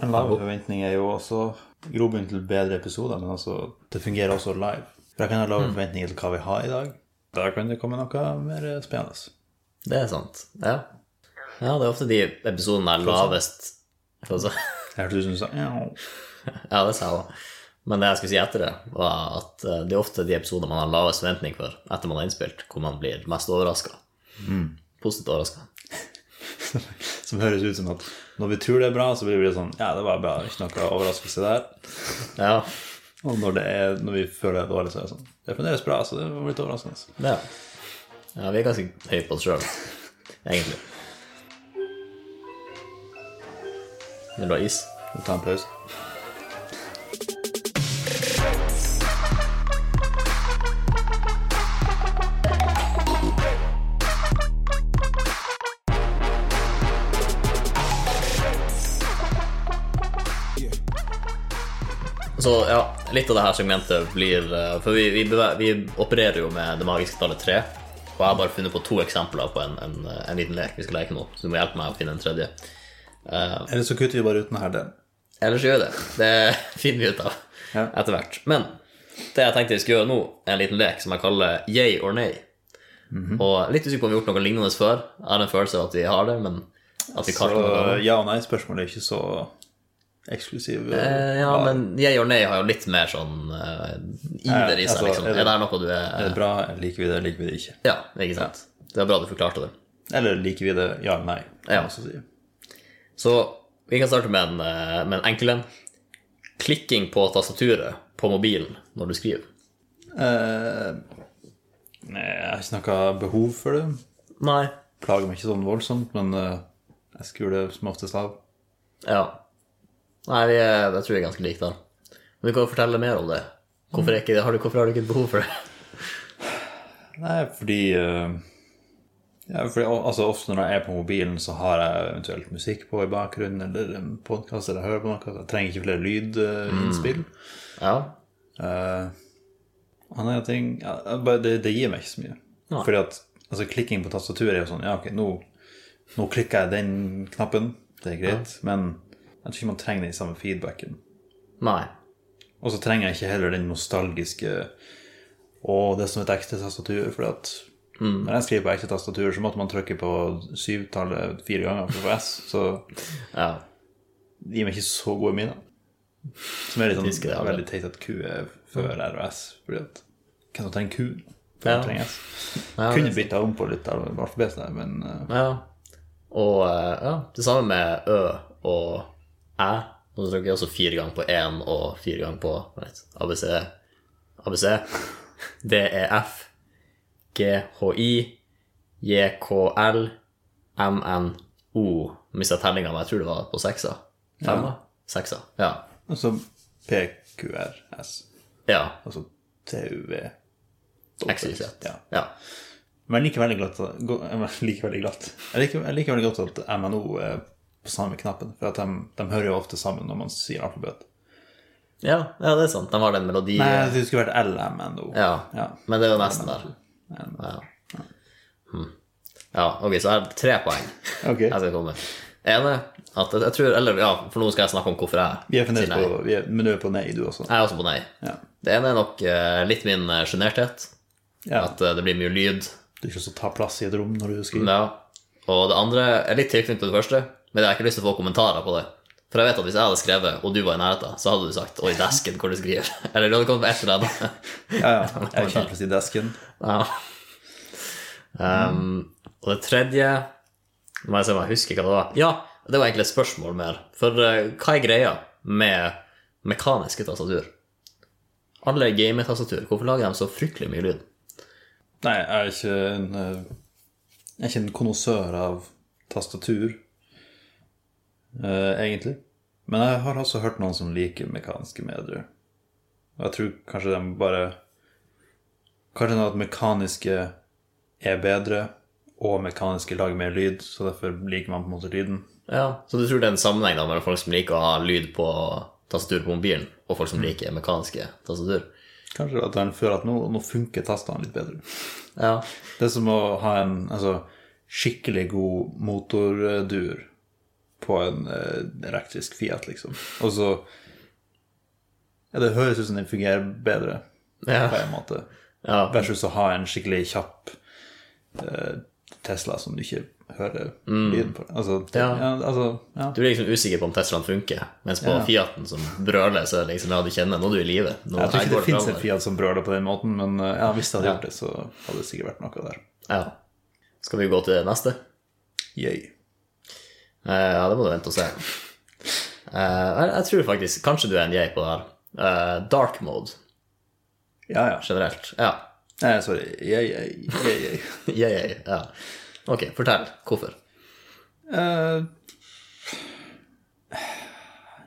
Men lav forventning er jo også grobunn til bedre episoder, men altså, det fungerer også live. For jeg kan ha lave Mm. forventninger til hva vi har i dag. Da kan det komme noe mer eh, spennende. Det er sant. Ja. ja, det er ofte de episodene er lavest. For å si- Jeg hørte du sånn, som sa «Mjau». Ja, det sa jeg òg. Men det jeg skulle si etter det, var at eh, det er ofte de episoder man har lavest forventning for etter man har innspilt, hvor man blir mest overraska. Positivt overraska. som høres ut som at når vi tror det er bra, så blir det sånn Ja, det var bra, ikke noe overraskelse der. Ja. Og når, det er, når vi føler det er dårlig, så er det sånn Det funderes bra, så det var litt overraskende. ja. Ja, vi er ganske høye på oss sjøl, egentlig. Vil du ha is? Vi tar en pause. Så ja, litt av det her segmentet blir eh, For vi, vi, beve- vi opererer jo med det magiske tallet tre. Og jeg har bare funnet på to eksempler på en, en, eh, en liten lek vi skal leke nå. Så du må hjelpe meg å finne en tredje. Eh, Eller så kutter vi bare ut denne her delen. ellers gjør vi det. Det finner vi ut av Ja. etter hvert. Men det jeg tenkte vi skulle gjøre nå, er en liten lek som jeg kaller yay or nay. Mhm. Og litt usikker på om vi har gjort noe lignende før. Jeg har en følelse av at vi har det, men at vi Så kalte det ja- og nei-spørsmålet er ikke så eksklusiv. Eh, ja, men yay or nay har jo litt mer sånn eh, iver i Eh, seg, altså, liksom. er Er det- det her noe du Er er det bra? Liker vi det? Liker vi det ikke? Ja, ikke sant. Det er bra du forklarte det. Eller liker vi det? Ja eller nei? kan Ja. man også si. Så vi kan starte med en, eh, med en enkel en. Klikking på tastaturet på mobilen når du skriver. Eh, nei, jeg har ikke noe behov for det. Nei. Plager meg ikke sånn voldsomt, men eh, jeg skrur det som oftest av. Ja. Nei, vi er, jeg tror vi er ganske like der. Men du kan jo fortelle mer om det. Hvorfor, er ikke, det- har du, hvorfor har du ikke et behov for det? Nei, fordi eh, ja, fordi al- altså, Ofte når jeg er på mobilen, så har jeg eventuelt musikk på i bakgrunnen, eller en podkast, eller jeg hører på noe. så Jeg trenger ikke flere lydinnspill. Ja. Eh, andre ting ja, jeg bare, det, det gir meg ikke så mye. Nei. Fordi at altså, klikking på tastaturet er jo sånn Ja, ok, nå, nå klikker jeg den knappen, det er greit, men jeg tror ikke man trenger den samme feedbacken. Nei. Og så trenger jeg ikke heller den nostalgiske Å, det er som et ekte tastatur, fordi at Mm. når jeg skriver på ekte tastatur, så måtte man trykke på syvtallet fire ganger for å få S, så Ja. det gir meg ikke så gode minner. Som er litt Tyske, sånn ja, veldig teit at Q er før R og S. Fordi at hvem som trenger Q? Hvem Ja. som trenger S? Ja, Kunne bytta om på litt av alfabetet, der, men eh, Ja. Og eh, ja, det samme med Ø og Æ. Nå trykker jeg også fire ganger på én og fire ganger på vet, ABC, ABC, DEF, GHI, JKL, MNO Mista tellinga, men jeg tror det var på seksa. Femma? Seksa. Ja. altså PQRS. ja. Altså TUV. XYZ. Ja. Ja. Men jeg liker veldig glatt, go- jeg liker veldig glatt. Jeg liker, jeg liker veldig godt at MNO er på samme knappen, for at de, de hører jo ofte sammen når man sier alfabet. Ja, ja, det er sant. De har den melodien. Nei, det skulle vært LMNO. Ja. Ja. Men det er jo nesten der. Ja. Hmm. ja, ok, så jeg har tre poeng Ok. jeg skal komme med. Ene at jeg, jeg tror Eller ja, for nå skal jeg snakke om hvorfor jeg Vi er fremdeles sier nei. på, vi er, men du er på nei, du også. Jeg er også på nei. Ja. Det ene er nok eh, litt min eh, sjenerthet. Ja. At eh, det blir mye lyd. Du er ikke så ta plass i et rom når du skriver. Ja. Og det andre er litt tilknyttet det første, men jeg har ikke lyst til å få kommentarer på det. For jeg vet at hvis jeg hadde skrevet, og du var i nærheten, så hadde du sagt 'Oi, dæsken, hvor du skriver'. Eller du hadde kommet med et eller annet. Ja, ja. Jeg er ikke plass i desken. Ja. Um, og det tredje Nå må jeg se om jeg husker hva det var. Ja, det var egentlig et spørsmål mer. For eh, hva er greia med mekaniske tastatur? Alle gametastatur, hvorfor lager de så fryktelig mye lyd? Nei, jeg er ikke en, eh, jeg er ikke en konnoissør av tastatur, eh, egentlig. Men jeg har også hørt noen som liker mekaniske medier. Og jeg tror kanskje de bare Kanskje noe at mekaniske er bedre, og mekaniske lager mer lyd, så derfor liker man på en måte lyden. Ja, Så du tror det er en sammenheng da mellom folk som liker å ha lyd på tastatur på mobilen, og folk Mm. som liker mekaniske tastatur? Kanskje at den føler at nå, nå funker tastene litt bedre. Ja. Det er som å ha en altså, skikkelig god motordur på en eh, elektrisk Fiat, liksom. Og så ja, Det høres ut som den fungerer bedre på Ja. en måte. ja. Versus å ha en skikkelig kjapp eh, Tesla som du ikke hører lyden på. Altså, det, Ja. ja. altså, ja. Du blir liksom usikker på om Teslaen funker, mens på Fiaten som brøler, så er det liksom ja, du kjenner nå er du i live. Nå- Jeg tror her ikke går det fins en framover. Fiat som brøler på den måten, men eh, ja, hvis det hadde gjort det, så hadde det sikkert vært noe der. Ja. Skal vi gå til neste? Yay. Eh, ja, det må du vente og se. Eh, jeg, jeg tror faktisk Kanskje du er en jeg på det her. Eh, dark mode Ja, ja. generelt. Ja. Nei, sorry. Yay, yay, yay, yay. Jeg, ja. Ok, fortell. Hvorfor? Eh,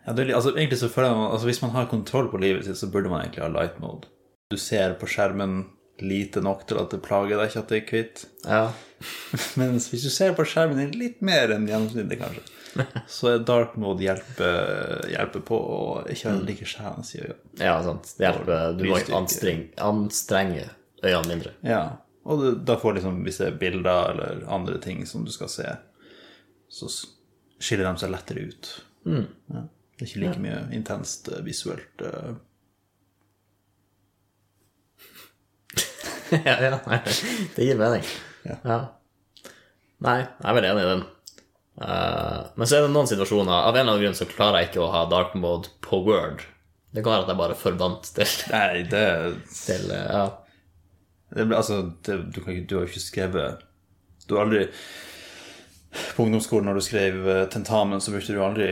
ja, det er, litt- altså, egentlig så føler jeg man- altså, Hvis man har kontroll på livet sitt, så burde man egentlig ha light mode. Du ser på skjermen lite nok til at det plager deg ikke at det er hvitt. Ja. Mens hvis du ser på skjermen din litt mer enn gjennomsnittet, kanskje, så er dark mode hjelpe, hjelpe på og ikke ha like skjærende sider. ja, sant. Det hjelper. Du må Lysstyrke. ikke anstreng, anstrenge øynene mindre. Ja. Og du, da får liksom, hvis det er bilder eller andre ting som du skal se, så s- skiller de seg lettere ut. Mm. Ja. Det er ikke like mye intenst eh, visuelt. eh. ja, ja, nei, det gir mening. Ja. Nei, jeg er vel enig i den. Eh, men så er det noen situasjoner Av en eller annen grunn så klarer jeg ikke å ha dark mode på Word. Det kan være at jeg bare er forbandt til, Nei, det, til eh, ja. det ble- Altså, det, du, kan, ikke- du har jo ikke skrevet Du har aldri På ungdomsskolen, når du skrev eh, tentamen, så brukte du aldri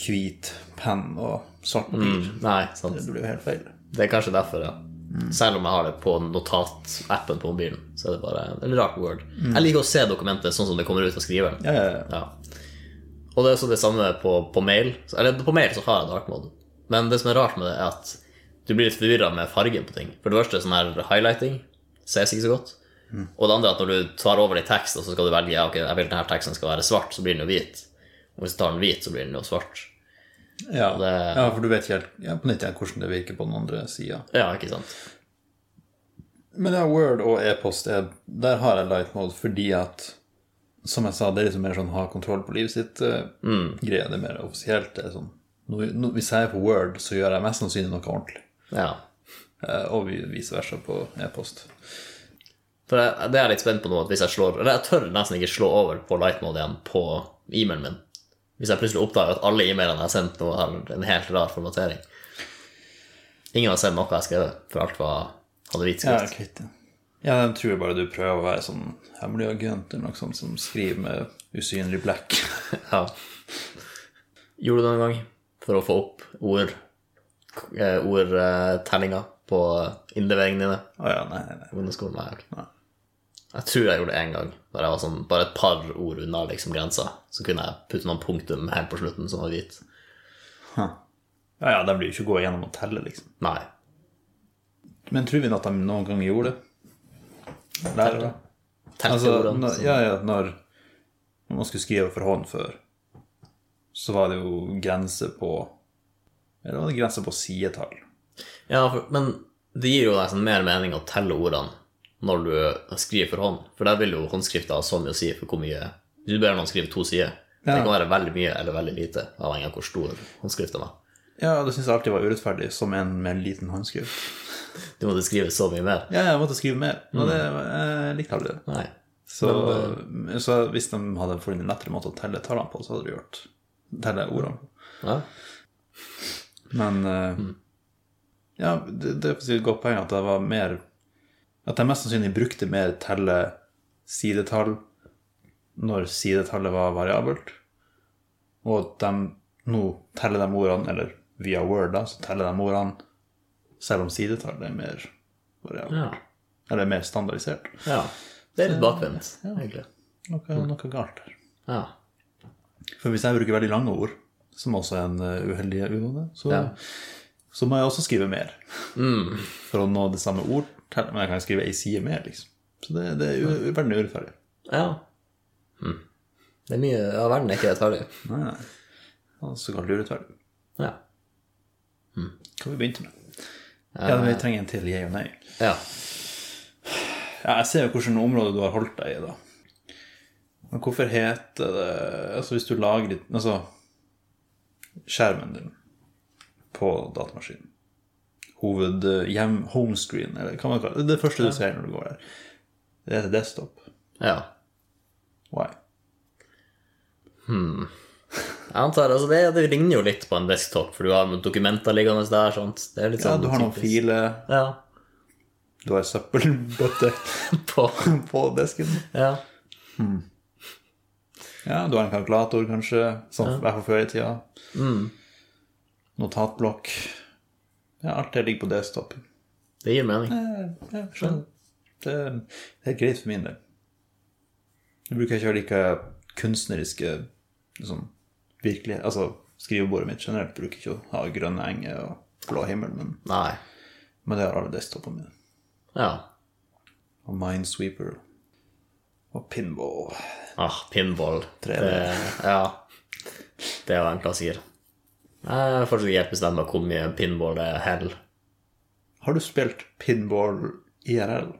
hvit penn og svart papir. Nei, sant. Det blir jo helt feil. Det er kanskje derfor, ja. Selv om jeg har det på notatappen på mobilen, så er det bare en rar Word. Jeg liker å se dokumentet sånn som det kommer ut av skriveren. Ja, ja, ja. Ja. Og det er også det samme på, på mail. Så- Eller på mail så har jeg dark mode. Men det som er rart med det, er at du blir litt forvirra med fargen på ting. For det første sånn her highlighting ses ikke så godt. Og det andre er at når du tar over i tekst, og så skal du velge ja, ok, jeg vil denne teksten skal være svart, så blir den jo hvit. Og hvis du tar den hvit, så blir den jo svart. Ja, det- ja, for du vet ikke helt ja, på nytt igjen hvordan det virker på den andre sida. Ja, ikke sant? Men ja, Word og e-post, er- der har jeg light mode fordi at Som jeg sa, det er liksom mer sånn ha kontroll på livet sitt. Mm. Greia det er mer offisielt. Det er sånn, nå, nå, hvis jeg er på Word, så gjør jeg mest sannsynlig noe ordentlig. Ja. Eh, og vi- vice versa på e-post. For jeg, det er jeg litt spent på nå, at hvis jeg slår Eller jeg tør nesten ikke slå over på light mode igjen på e-mailen min. Hvis jeg plutselig oppdager at alle e-mailene jeg har sendt nå, har en helt rar formatering. Ingen har sett noe jeg har skrevet, for alt var, hadde hvit Ja, skrift. kvitt det. Ja, de tror bare du prøver å være sånn hemmelig agent eller noe sånt som skriver med usynlig black. Ja. Gjorde du det noen gang for å få opp ord eh, ordtellinga på innleveringene dine? Å ja, nei, nei, nei. på ungdomsskolen? Nei, ok. Nei. Jeg tror jeg gjorde det én gang, da jeg var sånn bare et par ord unna liksom, grensa. Så kunne jeg putte noen punktum helt på slutten som var hvit. Ja, ja, de blir jo ikke gå igjennom og telle, liksom. Nei. Men tror vi at de noen gang gjorde det? Lærere? Telte Altså, ordene. når, så- ja, ja, når, når man skulle skrive for hånd før, så var det jo grenser på Eller var det grenser på sidetall? Ja, for, men det gir jo nesten mer mening å telle ordene når du eh, skriver for hånd, for der vil jo håndskrifta ha så mye å si for hvor mye Hvis du ber noen skrive to sider, det Ja. kan være veldig mye eller veldig lite, avhengig av hvor stor håndskriften er. Ja, og det syns jeg alltid var urettferdig, som en med en liten håndskrift. Du måtte skrive så mye mer. Ja, jeg måtte skrive mer, og det jeg likte aldri det. Nei. Så, så hvis de hadde funnet en lettere måte å telle tallene på, så hadde de gjort telle ordene på. Ja. Men eh, ja, det, det er faktisk et godt poeng at jeg var mer At jeg mest sannsynlig brukte mer telle sidetall når sidetallet var variabelt, og at de nå teller de ordene, eller via Word, da, så teller de ordene selv om sidetallet er mer variabelt. ja. Eller mer standardisert. ja. Det er litt bakvendt, egentlig. Noe, noe galt der. Ja. For hvis jeg bruker veldig lange ord, som også er en eh, uheldig uvane, så, så må jeg også skrive mer. For å nå det samme ord. tell- Men jeg kan skrive ei side mer, liksom. Så det, det er u- veldig urettferdig. ja. Hm. Det er mye av verden er ikke rettferdig. Nei, nei. Ja, Såkalt urettferdig. Ja. Hva vi begynte med? Ja, vi trenger en til jeg og nei. ja. Ja, jeg ser jo hvilket område du har holdt deg i, da. Men hvorfor heter det Altså hvis du lagrer Altså skjermen din på datamaskinen Hoved hjem, Homescreen, eller hva man kaller det. Det første du ser når du går der. Det heter desktop. Ja. Why? Jeg antar, altså det, det ligner jo litt på en desktop, for du har noen dokumenter liggende der. sånt. Det er litt Ja, du sånn har noen typisk. filer, Ja. du har søppelbøtte På, på desken. ja. Ja, du har en kalkulator, kanskje, som i hvert fall før i tida. Mm. Notatblokk. Ja, alt det ligger på desktop. Det gir mening. Eh, Jeg skjønner. Det, det er greit for min del. Du bruker ikke å like kunstneriske liksom, virkelig, Altså, skrivebordet mitt generelt bruker ikke å ha grønne enger og blå himmel, men, Nei. men det har alle desktopene mine. Ja. Og Minesweeper og pinball. Ah, pinball. 3D. Det, ja. Det er jo en klassiker. Jeg har fortsatt ikke helt bestemt meg hvor mye pinball det er hell. Har du spilt pinball IRL?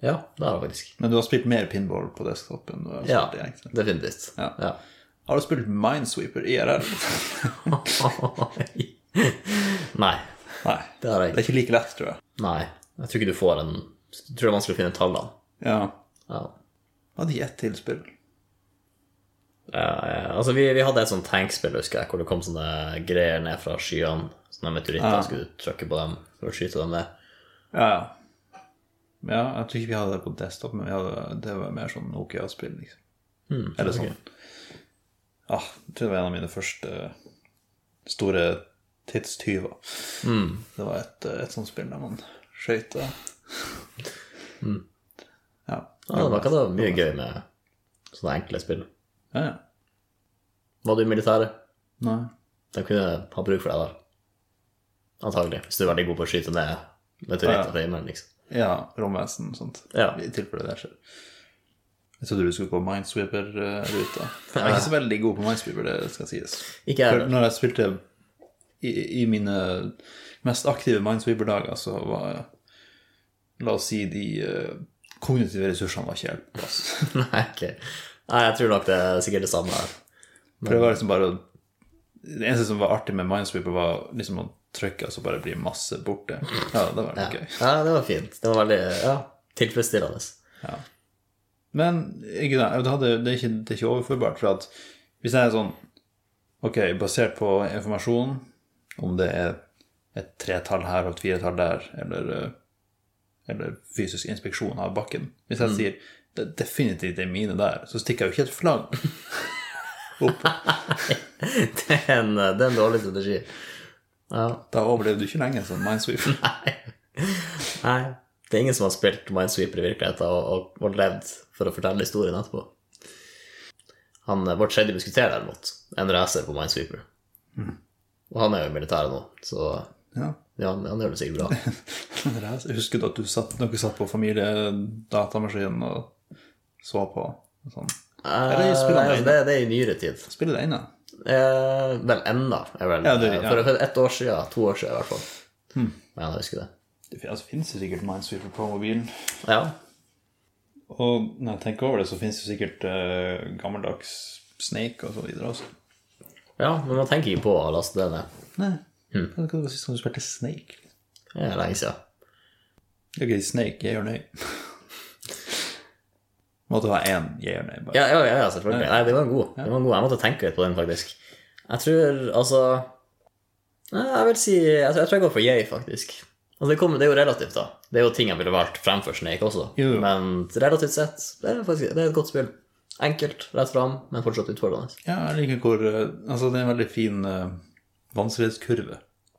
Ja, det har jeg faktisk. Men du har spilt mer pinball på desktop enn du har Ja, spilt i egentlig. definitivt. Ja. ja. Har du spilt Minesweeper IRL? Nei. Nei. Det har Det er jeg ikke. ikke like lett, tror jeg. Nei. Jeg tror ikke du får en Jeg tror det er vanskelig å finne tallene. Ja. Ja. Hadde gitt ett til spill. Eh, altså, vi, vi hadde et sånt tankspill, husker jeg, hvor det kom sånne greier ned fra skyene. Sånne meteoritter. Skulle du trykke på dem for å skyte dem ned? Ja. ja, jeg tror ikke vi hadde det på desktop, men vi hadde, det var mer sånn Nokia-spill. liksom. Eller sånn. Ah, jeg tror det var en av mine første eh, store tidstyver. Det var et, eh, et sånt spill der man skøyta. Ja. Ja, det var, det var mye gøy med sånne enkle spill. ja, ja. Var du i militæret? Nei. De kunne ha bruk for deg der. Antagelig. Hvis du er veldig god på å skyte ned meteoritter fra himmelen, liksom. Ja, romvesen og sånt. Ja. I tilfelle det skjer. Jeg trodde du skulle gå Minesweeper-ruta. Jeg er ikke så veldig god på Minesweeper, det skal sies. Ikke jeg For heller. når jeg spilte i, i mine mest aktive Minesweeper-dager, så var jeg, La oss si de eh, kognitive ressursene var ikke helt på plass. Nei, ok. Nei, jeg tror nok det er sikkert det samme her. For det var liksom bare å- Det eneste som var artig med Minesweeper, var liksom å trykke, og så bare bli masse borte. Ja, det var litt gøy. Ja, det var fint. Det var veldig ja, tilfredsstillende. Men ikke det, det, hadde, det, er ikke, det er ikke overførbart, for at hvis jeg er sånn Ok, basert på informasjon, om det er et tretall her og et firetall der, eller, eh, eller fysisk inspeksjon av bakken Hvis jeg sier det er definitivt det er mine der, så stikker jeg jo ikke et flagg. Det er en, det er en dårlig strategi. Ja. Da overlever du ikke lenge som minesweeper. Nei, det er ingen som har spilt Minesweeper i virkeligheten og, og, og levd for å fortelle historien etterpå. Han, eh, vår tredje musketer, derimot, er en racer på Minesweeper. Og han er jo i militæret nå, så Ja. ja, han, han gjør det sikkert bra. Jeg husker at du satt, dere satt på familiedatamaskinen og så på. og Sånn. Eller Eh, spiller han altså, det, det er i nyere tid. Spiller det ennå? Eh, vel, enda, er vel Ja, det- eh, ja. For, for ett år siden, to år siden i hvert fall. Ja, jeg husker det. Det fin- altså, finnes det sikkert minesweeper på mobilen. Ja, Og når jeg tenker over det, så finnes det sikkert eh, gammeldags Snake og så videre også. ja men man tenker ikke på å laste det ned. Nei. Hva var det sist gang du spilte Snake? Det er lenge siden. Ok, Snake, jeg gjør nøy. Måtte ha én jeg gjør nøy, bare. Ja, ja, ja, ja selvfølgelig. Nei, det var en god. Det var en god. Jeg måtte tenke litt på den, faktisk. Jeg tror, altså Nei, Jeg vil si altså, Jeg tror jeg, tror jeg går for yay, faktisk. Altså, det, kommer, det er jo relativt, da. Det er jo ting jeg ville valgt fremfor Snake også. Jo, jo. Men relativt sett, det er faktisk det er et godt spill. Enkelt, rett fram, men fortsatt utfordrende. Ja, jeg liker hvor eh, Altså, det er en veldig fin eh, vanskelighetskurve.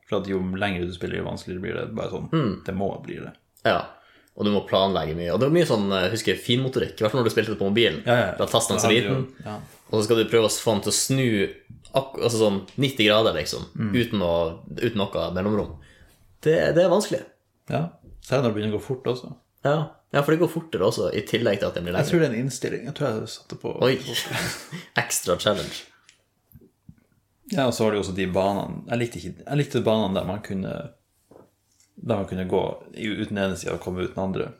For at jo lenger du spiller, jo vanskeligere blir det. Bare sånn Det må bli det. Ja. Og du må planlegge mye. Og det er mye sånn, jeg husker finmotorikk, i hvert fall når du spilte det på mobilen. Ja, ja. Da tasten er så Da hadde liten. jo- ja. Og så skal du prøve å få den til å snu ak altså sånn 90 grader, liksom, uten, å, uten noe mellomrom. Det, det er vanskelig. ja. Selv når det begynner å gå fort også. Ja. ja, for det går fortere også, i tillegg til at den blir Jeg lengre. tror det er en innstilling. Jeg tror jeg satte på Oi! Ekstra challenge. Ja, og så var det jo også de banene Jeg likte, ikke, jeg likte banene der man kunne Der man kunne gå i- uten ene sida og komme uten andre.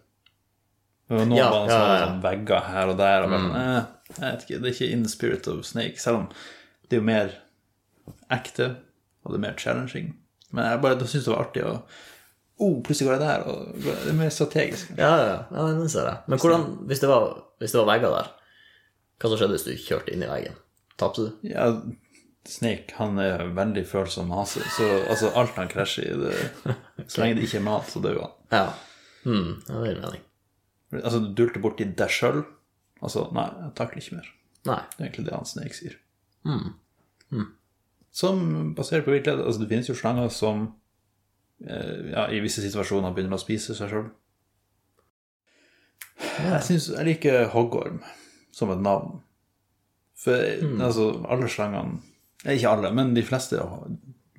Det var Noen Ja, baner som ja, Mm. ja, hadde ja. sånn vegger her og der. Og bare, sånn, eh, jeg vet ikke, Det er ikke in the spirit of snake, selv om det er jo mer ekte og det er mer challenging. Men jeg bare syntes det var artig å oh, plutselig går det der. Og det er mer strategisk. Ja, ja, ja, ja, den ser jeg. Men hvordan, hvis det, var, hvis det var vegger der, hva som skjedde hvis du kjørte inn i veggen? Tapte du? Ja, Snake han er veldig følsom hase, så altså, alt han krasjer i det, Så lenge det ikke er mat, så dør han. Ja. Hmm, ja, det gir mening. Altså, du dulter borti deg sjøl. Altså, nei, jeg takler ikke mer. Nei. Det er egentlig det han Snake sier. Mm. Som basert på virkelighet. Altså, det finnes jo slanger som eh, ja, i visse situasjoner begynner å spise seg sjøl. Jeg synes jeg liker hoggorm som et navn. For altså, alle slangene eh, Ikke alle, men de fleste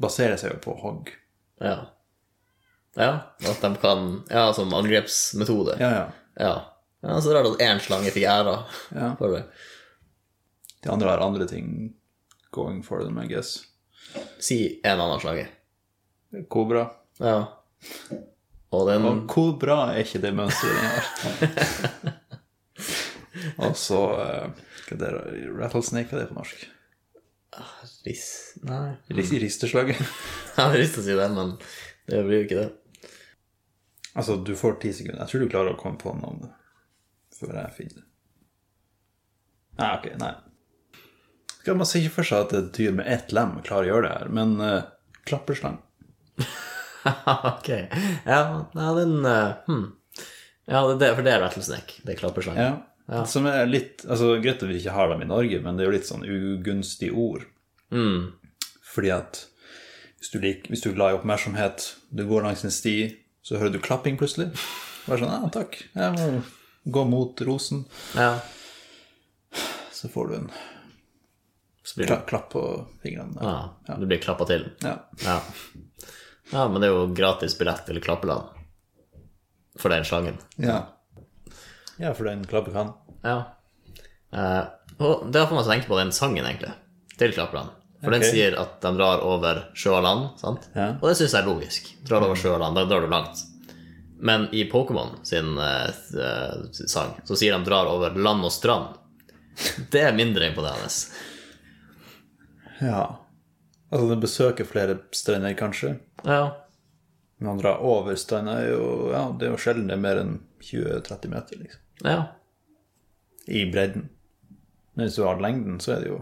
baserer seg jo på hogg. Ja. Ja, at de kan Ja, som angrepsmetode. Ja, ja. Ja. ja så rart at én slange fikk æra Ja. for det. De andre har andre ting going for them, I guess. Si en annen slange. Kobra. Ja. Og den Og hvor bra er ikke det mønsteret den har? Og så eh, hva er det, Rattlesnake, hva er det på norsk? Ris... Nei. Rist, risteslaget. Jeg hadde lyst til å si det, men det blir jo ikke det. altså, du får ti sekunder. Jeg tror du klarer å komme på navnet før jeg finner det. Nei, ok, nei. Skal man se ikke for seg at et dyr med ett lem klarer å gjøre det her, men eh, klapperslang ok. Ja, ja den eh, hmm. Ja, det, det- for det er rattlesnake. Det er klapperslange. Ja. Som er litt altså, Greit at vi ikke har dem i Norge, men det er jo litt sånn ugunstig ord. Mm. Fordi at hvis du, lik, hvis du er glad i oppmerksomhet, du går langs en sti, så hører du klapping plutselig. Bare sånn Ja, takk. Jeg må gå mot rosen. Ja. Så får du en Så blir det, kla- klapp på fingrene. der. ja, det blir klappa til. Ja. Ja. ja, men det er jo gratis billett til Klappeland for den slangen. ja. Ja, for den klapper kan. Ja. Eh, og det har fått meg til å tenke på den sangen, egentlig, til Klappeland. For Ok. den sier at de drar over sjø og land, sant? Ja. Mm. Og det syns jeg er logisk. Drar over sjø og land, da drar du langt. Men i Pokémon sin eh, s- eh, sang så sier de 'drar over land og strand'. Det er mindre imponerende. Ja. Altså, den besøker flere strender, kanskje. Ja. Men han drar over stranda, er jo Ja, det er jo sjelden det er mer enn 20-30 meter, liksom. ja. i bredden. Men hvis du har lengden, så er det jo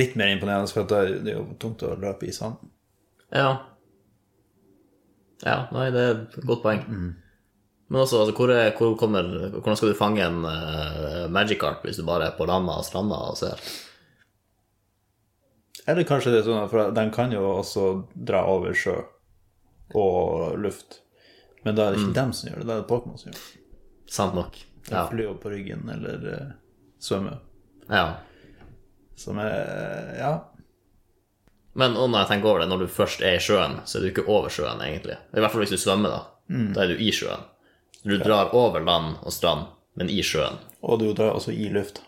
litt mer imponerende, for at det er- det er jo tungt å løpe i sand. Ja. Ja, nei, det er et godt poeng. Mm. Men også, altså, hvor er, hvor kommer, hvordan skal du fange en uh, magic carp hvis du bare er på landa og stranda og ser? Eller kanskje det er sånn, at- for de kan jo også dra over sjø og luft. Men da er det ikke dem som gjør det, da er det Pokémon som gjør det. Sant nok. De Ja. flyr jo på ryggen eller eh, svømmer. ja. Som er eh, Ja. Men og når jeg tenker over det, når du først er i sjøen, så er du ikke over sjøen, egentlig. I hvert fall hvis du svømmer, da. Da er du i sjøen. Du drar over land og strand, men i sjøen. Og du drar også i lufta.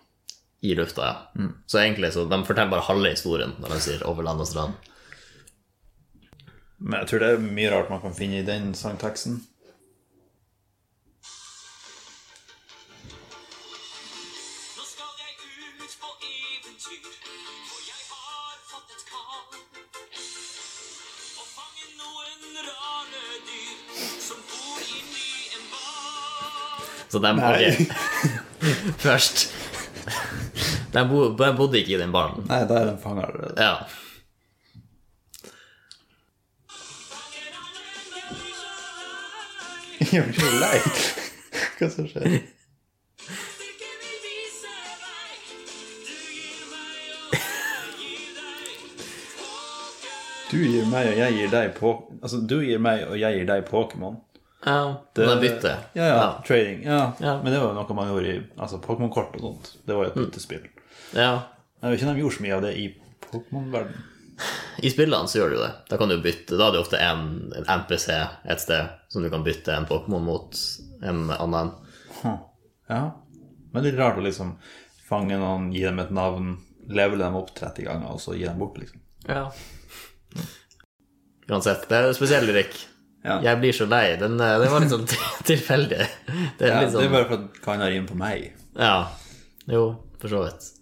I lufta, ja. Så egentlig så de forteller bare halve historien når de sier 'over land og strand'. Men jeg tror det er mye rart man kan finne i den sangteksten. Nå skal jeg ut på eventyr, for jeg har fått et kall. Å fange noen rare dyr som bor inni en hval. Så de ok. Først de, bo, de bodde ikke i den baren. Nei, da er den fanga allerede. Ja. Fanger alle mennesker, Jeg blir så lei. Hva som skjer? styrke vil vise deg. Du gir meg, og jeg gir deg. Og jeg Du gir meg, og jeg gir deg på... Altså, du gir meg, og jeg gir deg Pokémon. ja. De bytter. Ja, ja, trading. Ja. Ja. Mm. Men det var jo noe man gjorde i altså, Pokémon-kort og sånt. Det var jo et byttespill. ja. Jeg vet ikke om de gjorde så mye av det i Pokémon-verden. I spillene så gjør du jo det. Da kan du bytte, da er det ofte en, en NPC et sted som du kan bytte en Pokémon mot en annen. Hm. Ja. Men det er litt rart å liksom fange noen, gi dem et navn, levele dem opp 30 ganger, og så gi dem bort, liksom. Uansett, det er spesiell lyrikk. Ja. Jeg blir så lei. Den, eh, den var litt sånn tilfeldig. Det er Ja, det er litt sånn, bare for at kan ha rim på meg. ja. Jo, for så vidt.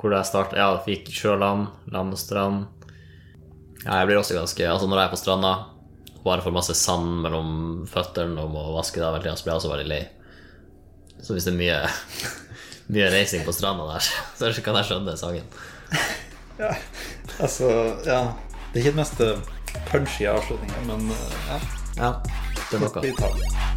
Hvor da jeg startet Ja, fikk sjøland, landstrand Ja, jeg blir også ganske Altså, når jeg er på stranda, og bare får masse sand mellom føttene og må vaske det av hele tiden, så blir jeg også veldig lei. Så hvis det er mye Mye reising på stranda der, så kan jeg skjønne sangen. Altså, ja. Det er ikke den mest punchy avslutningen, men eh, ja. Ja, det er noe. Vi tar det.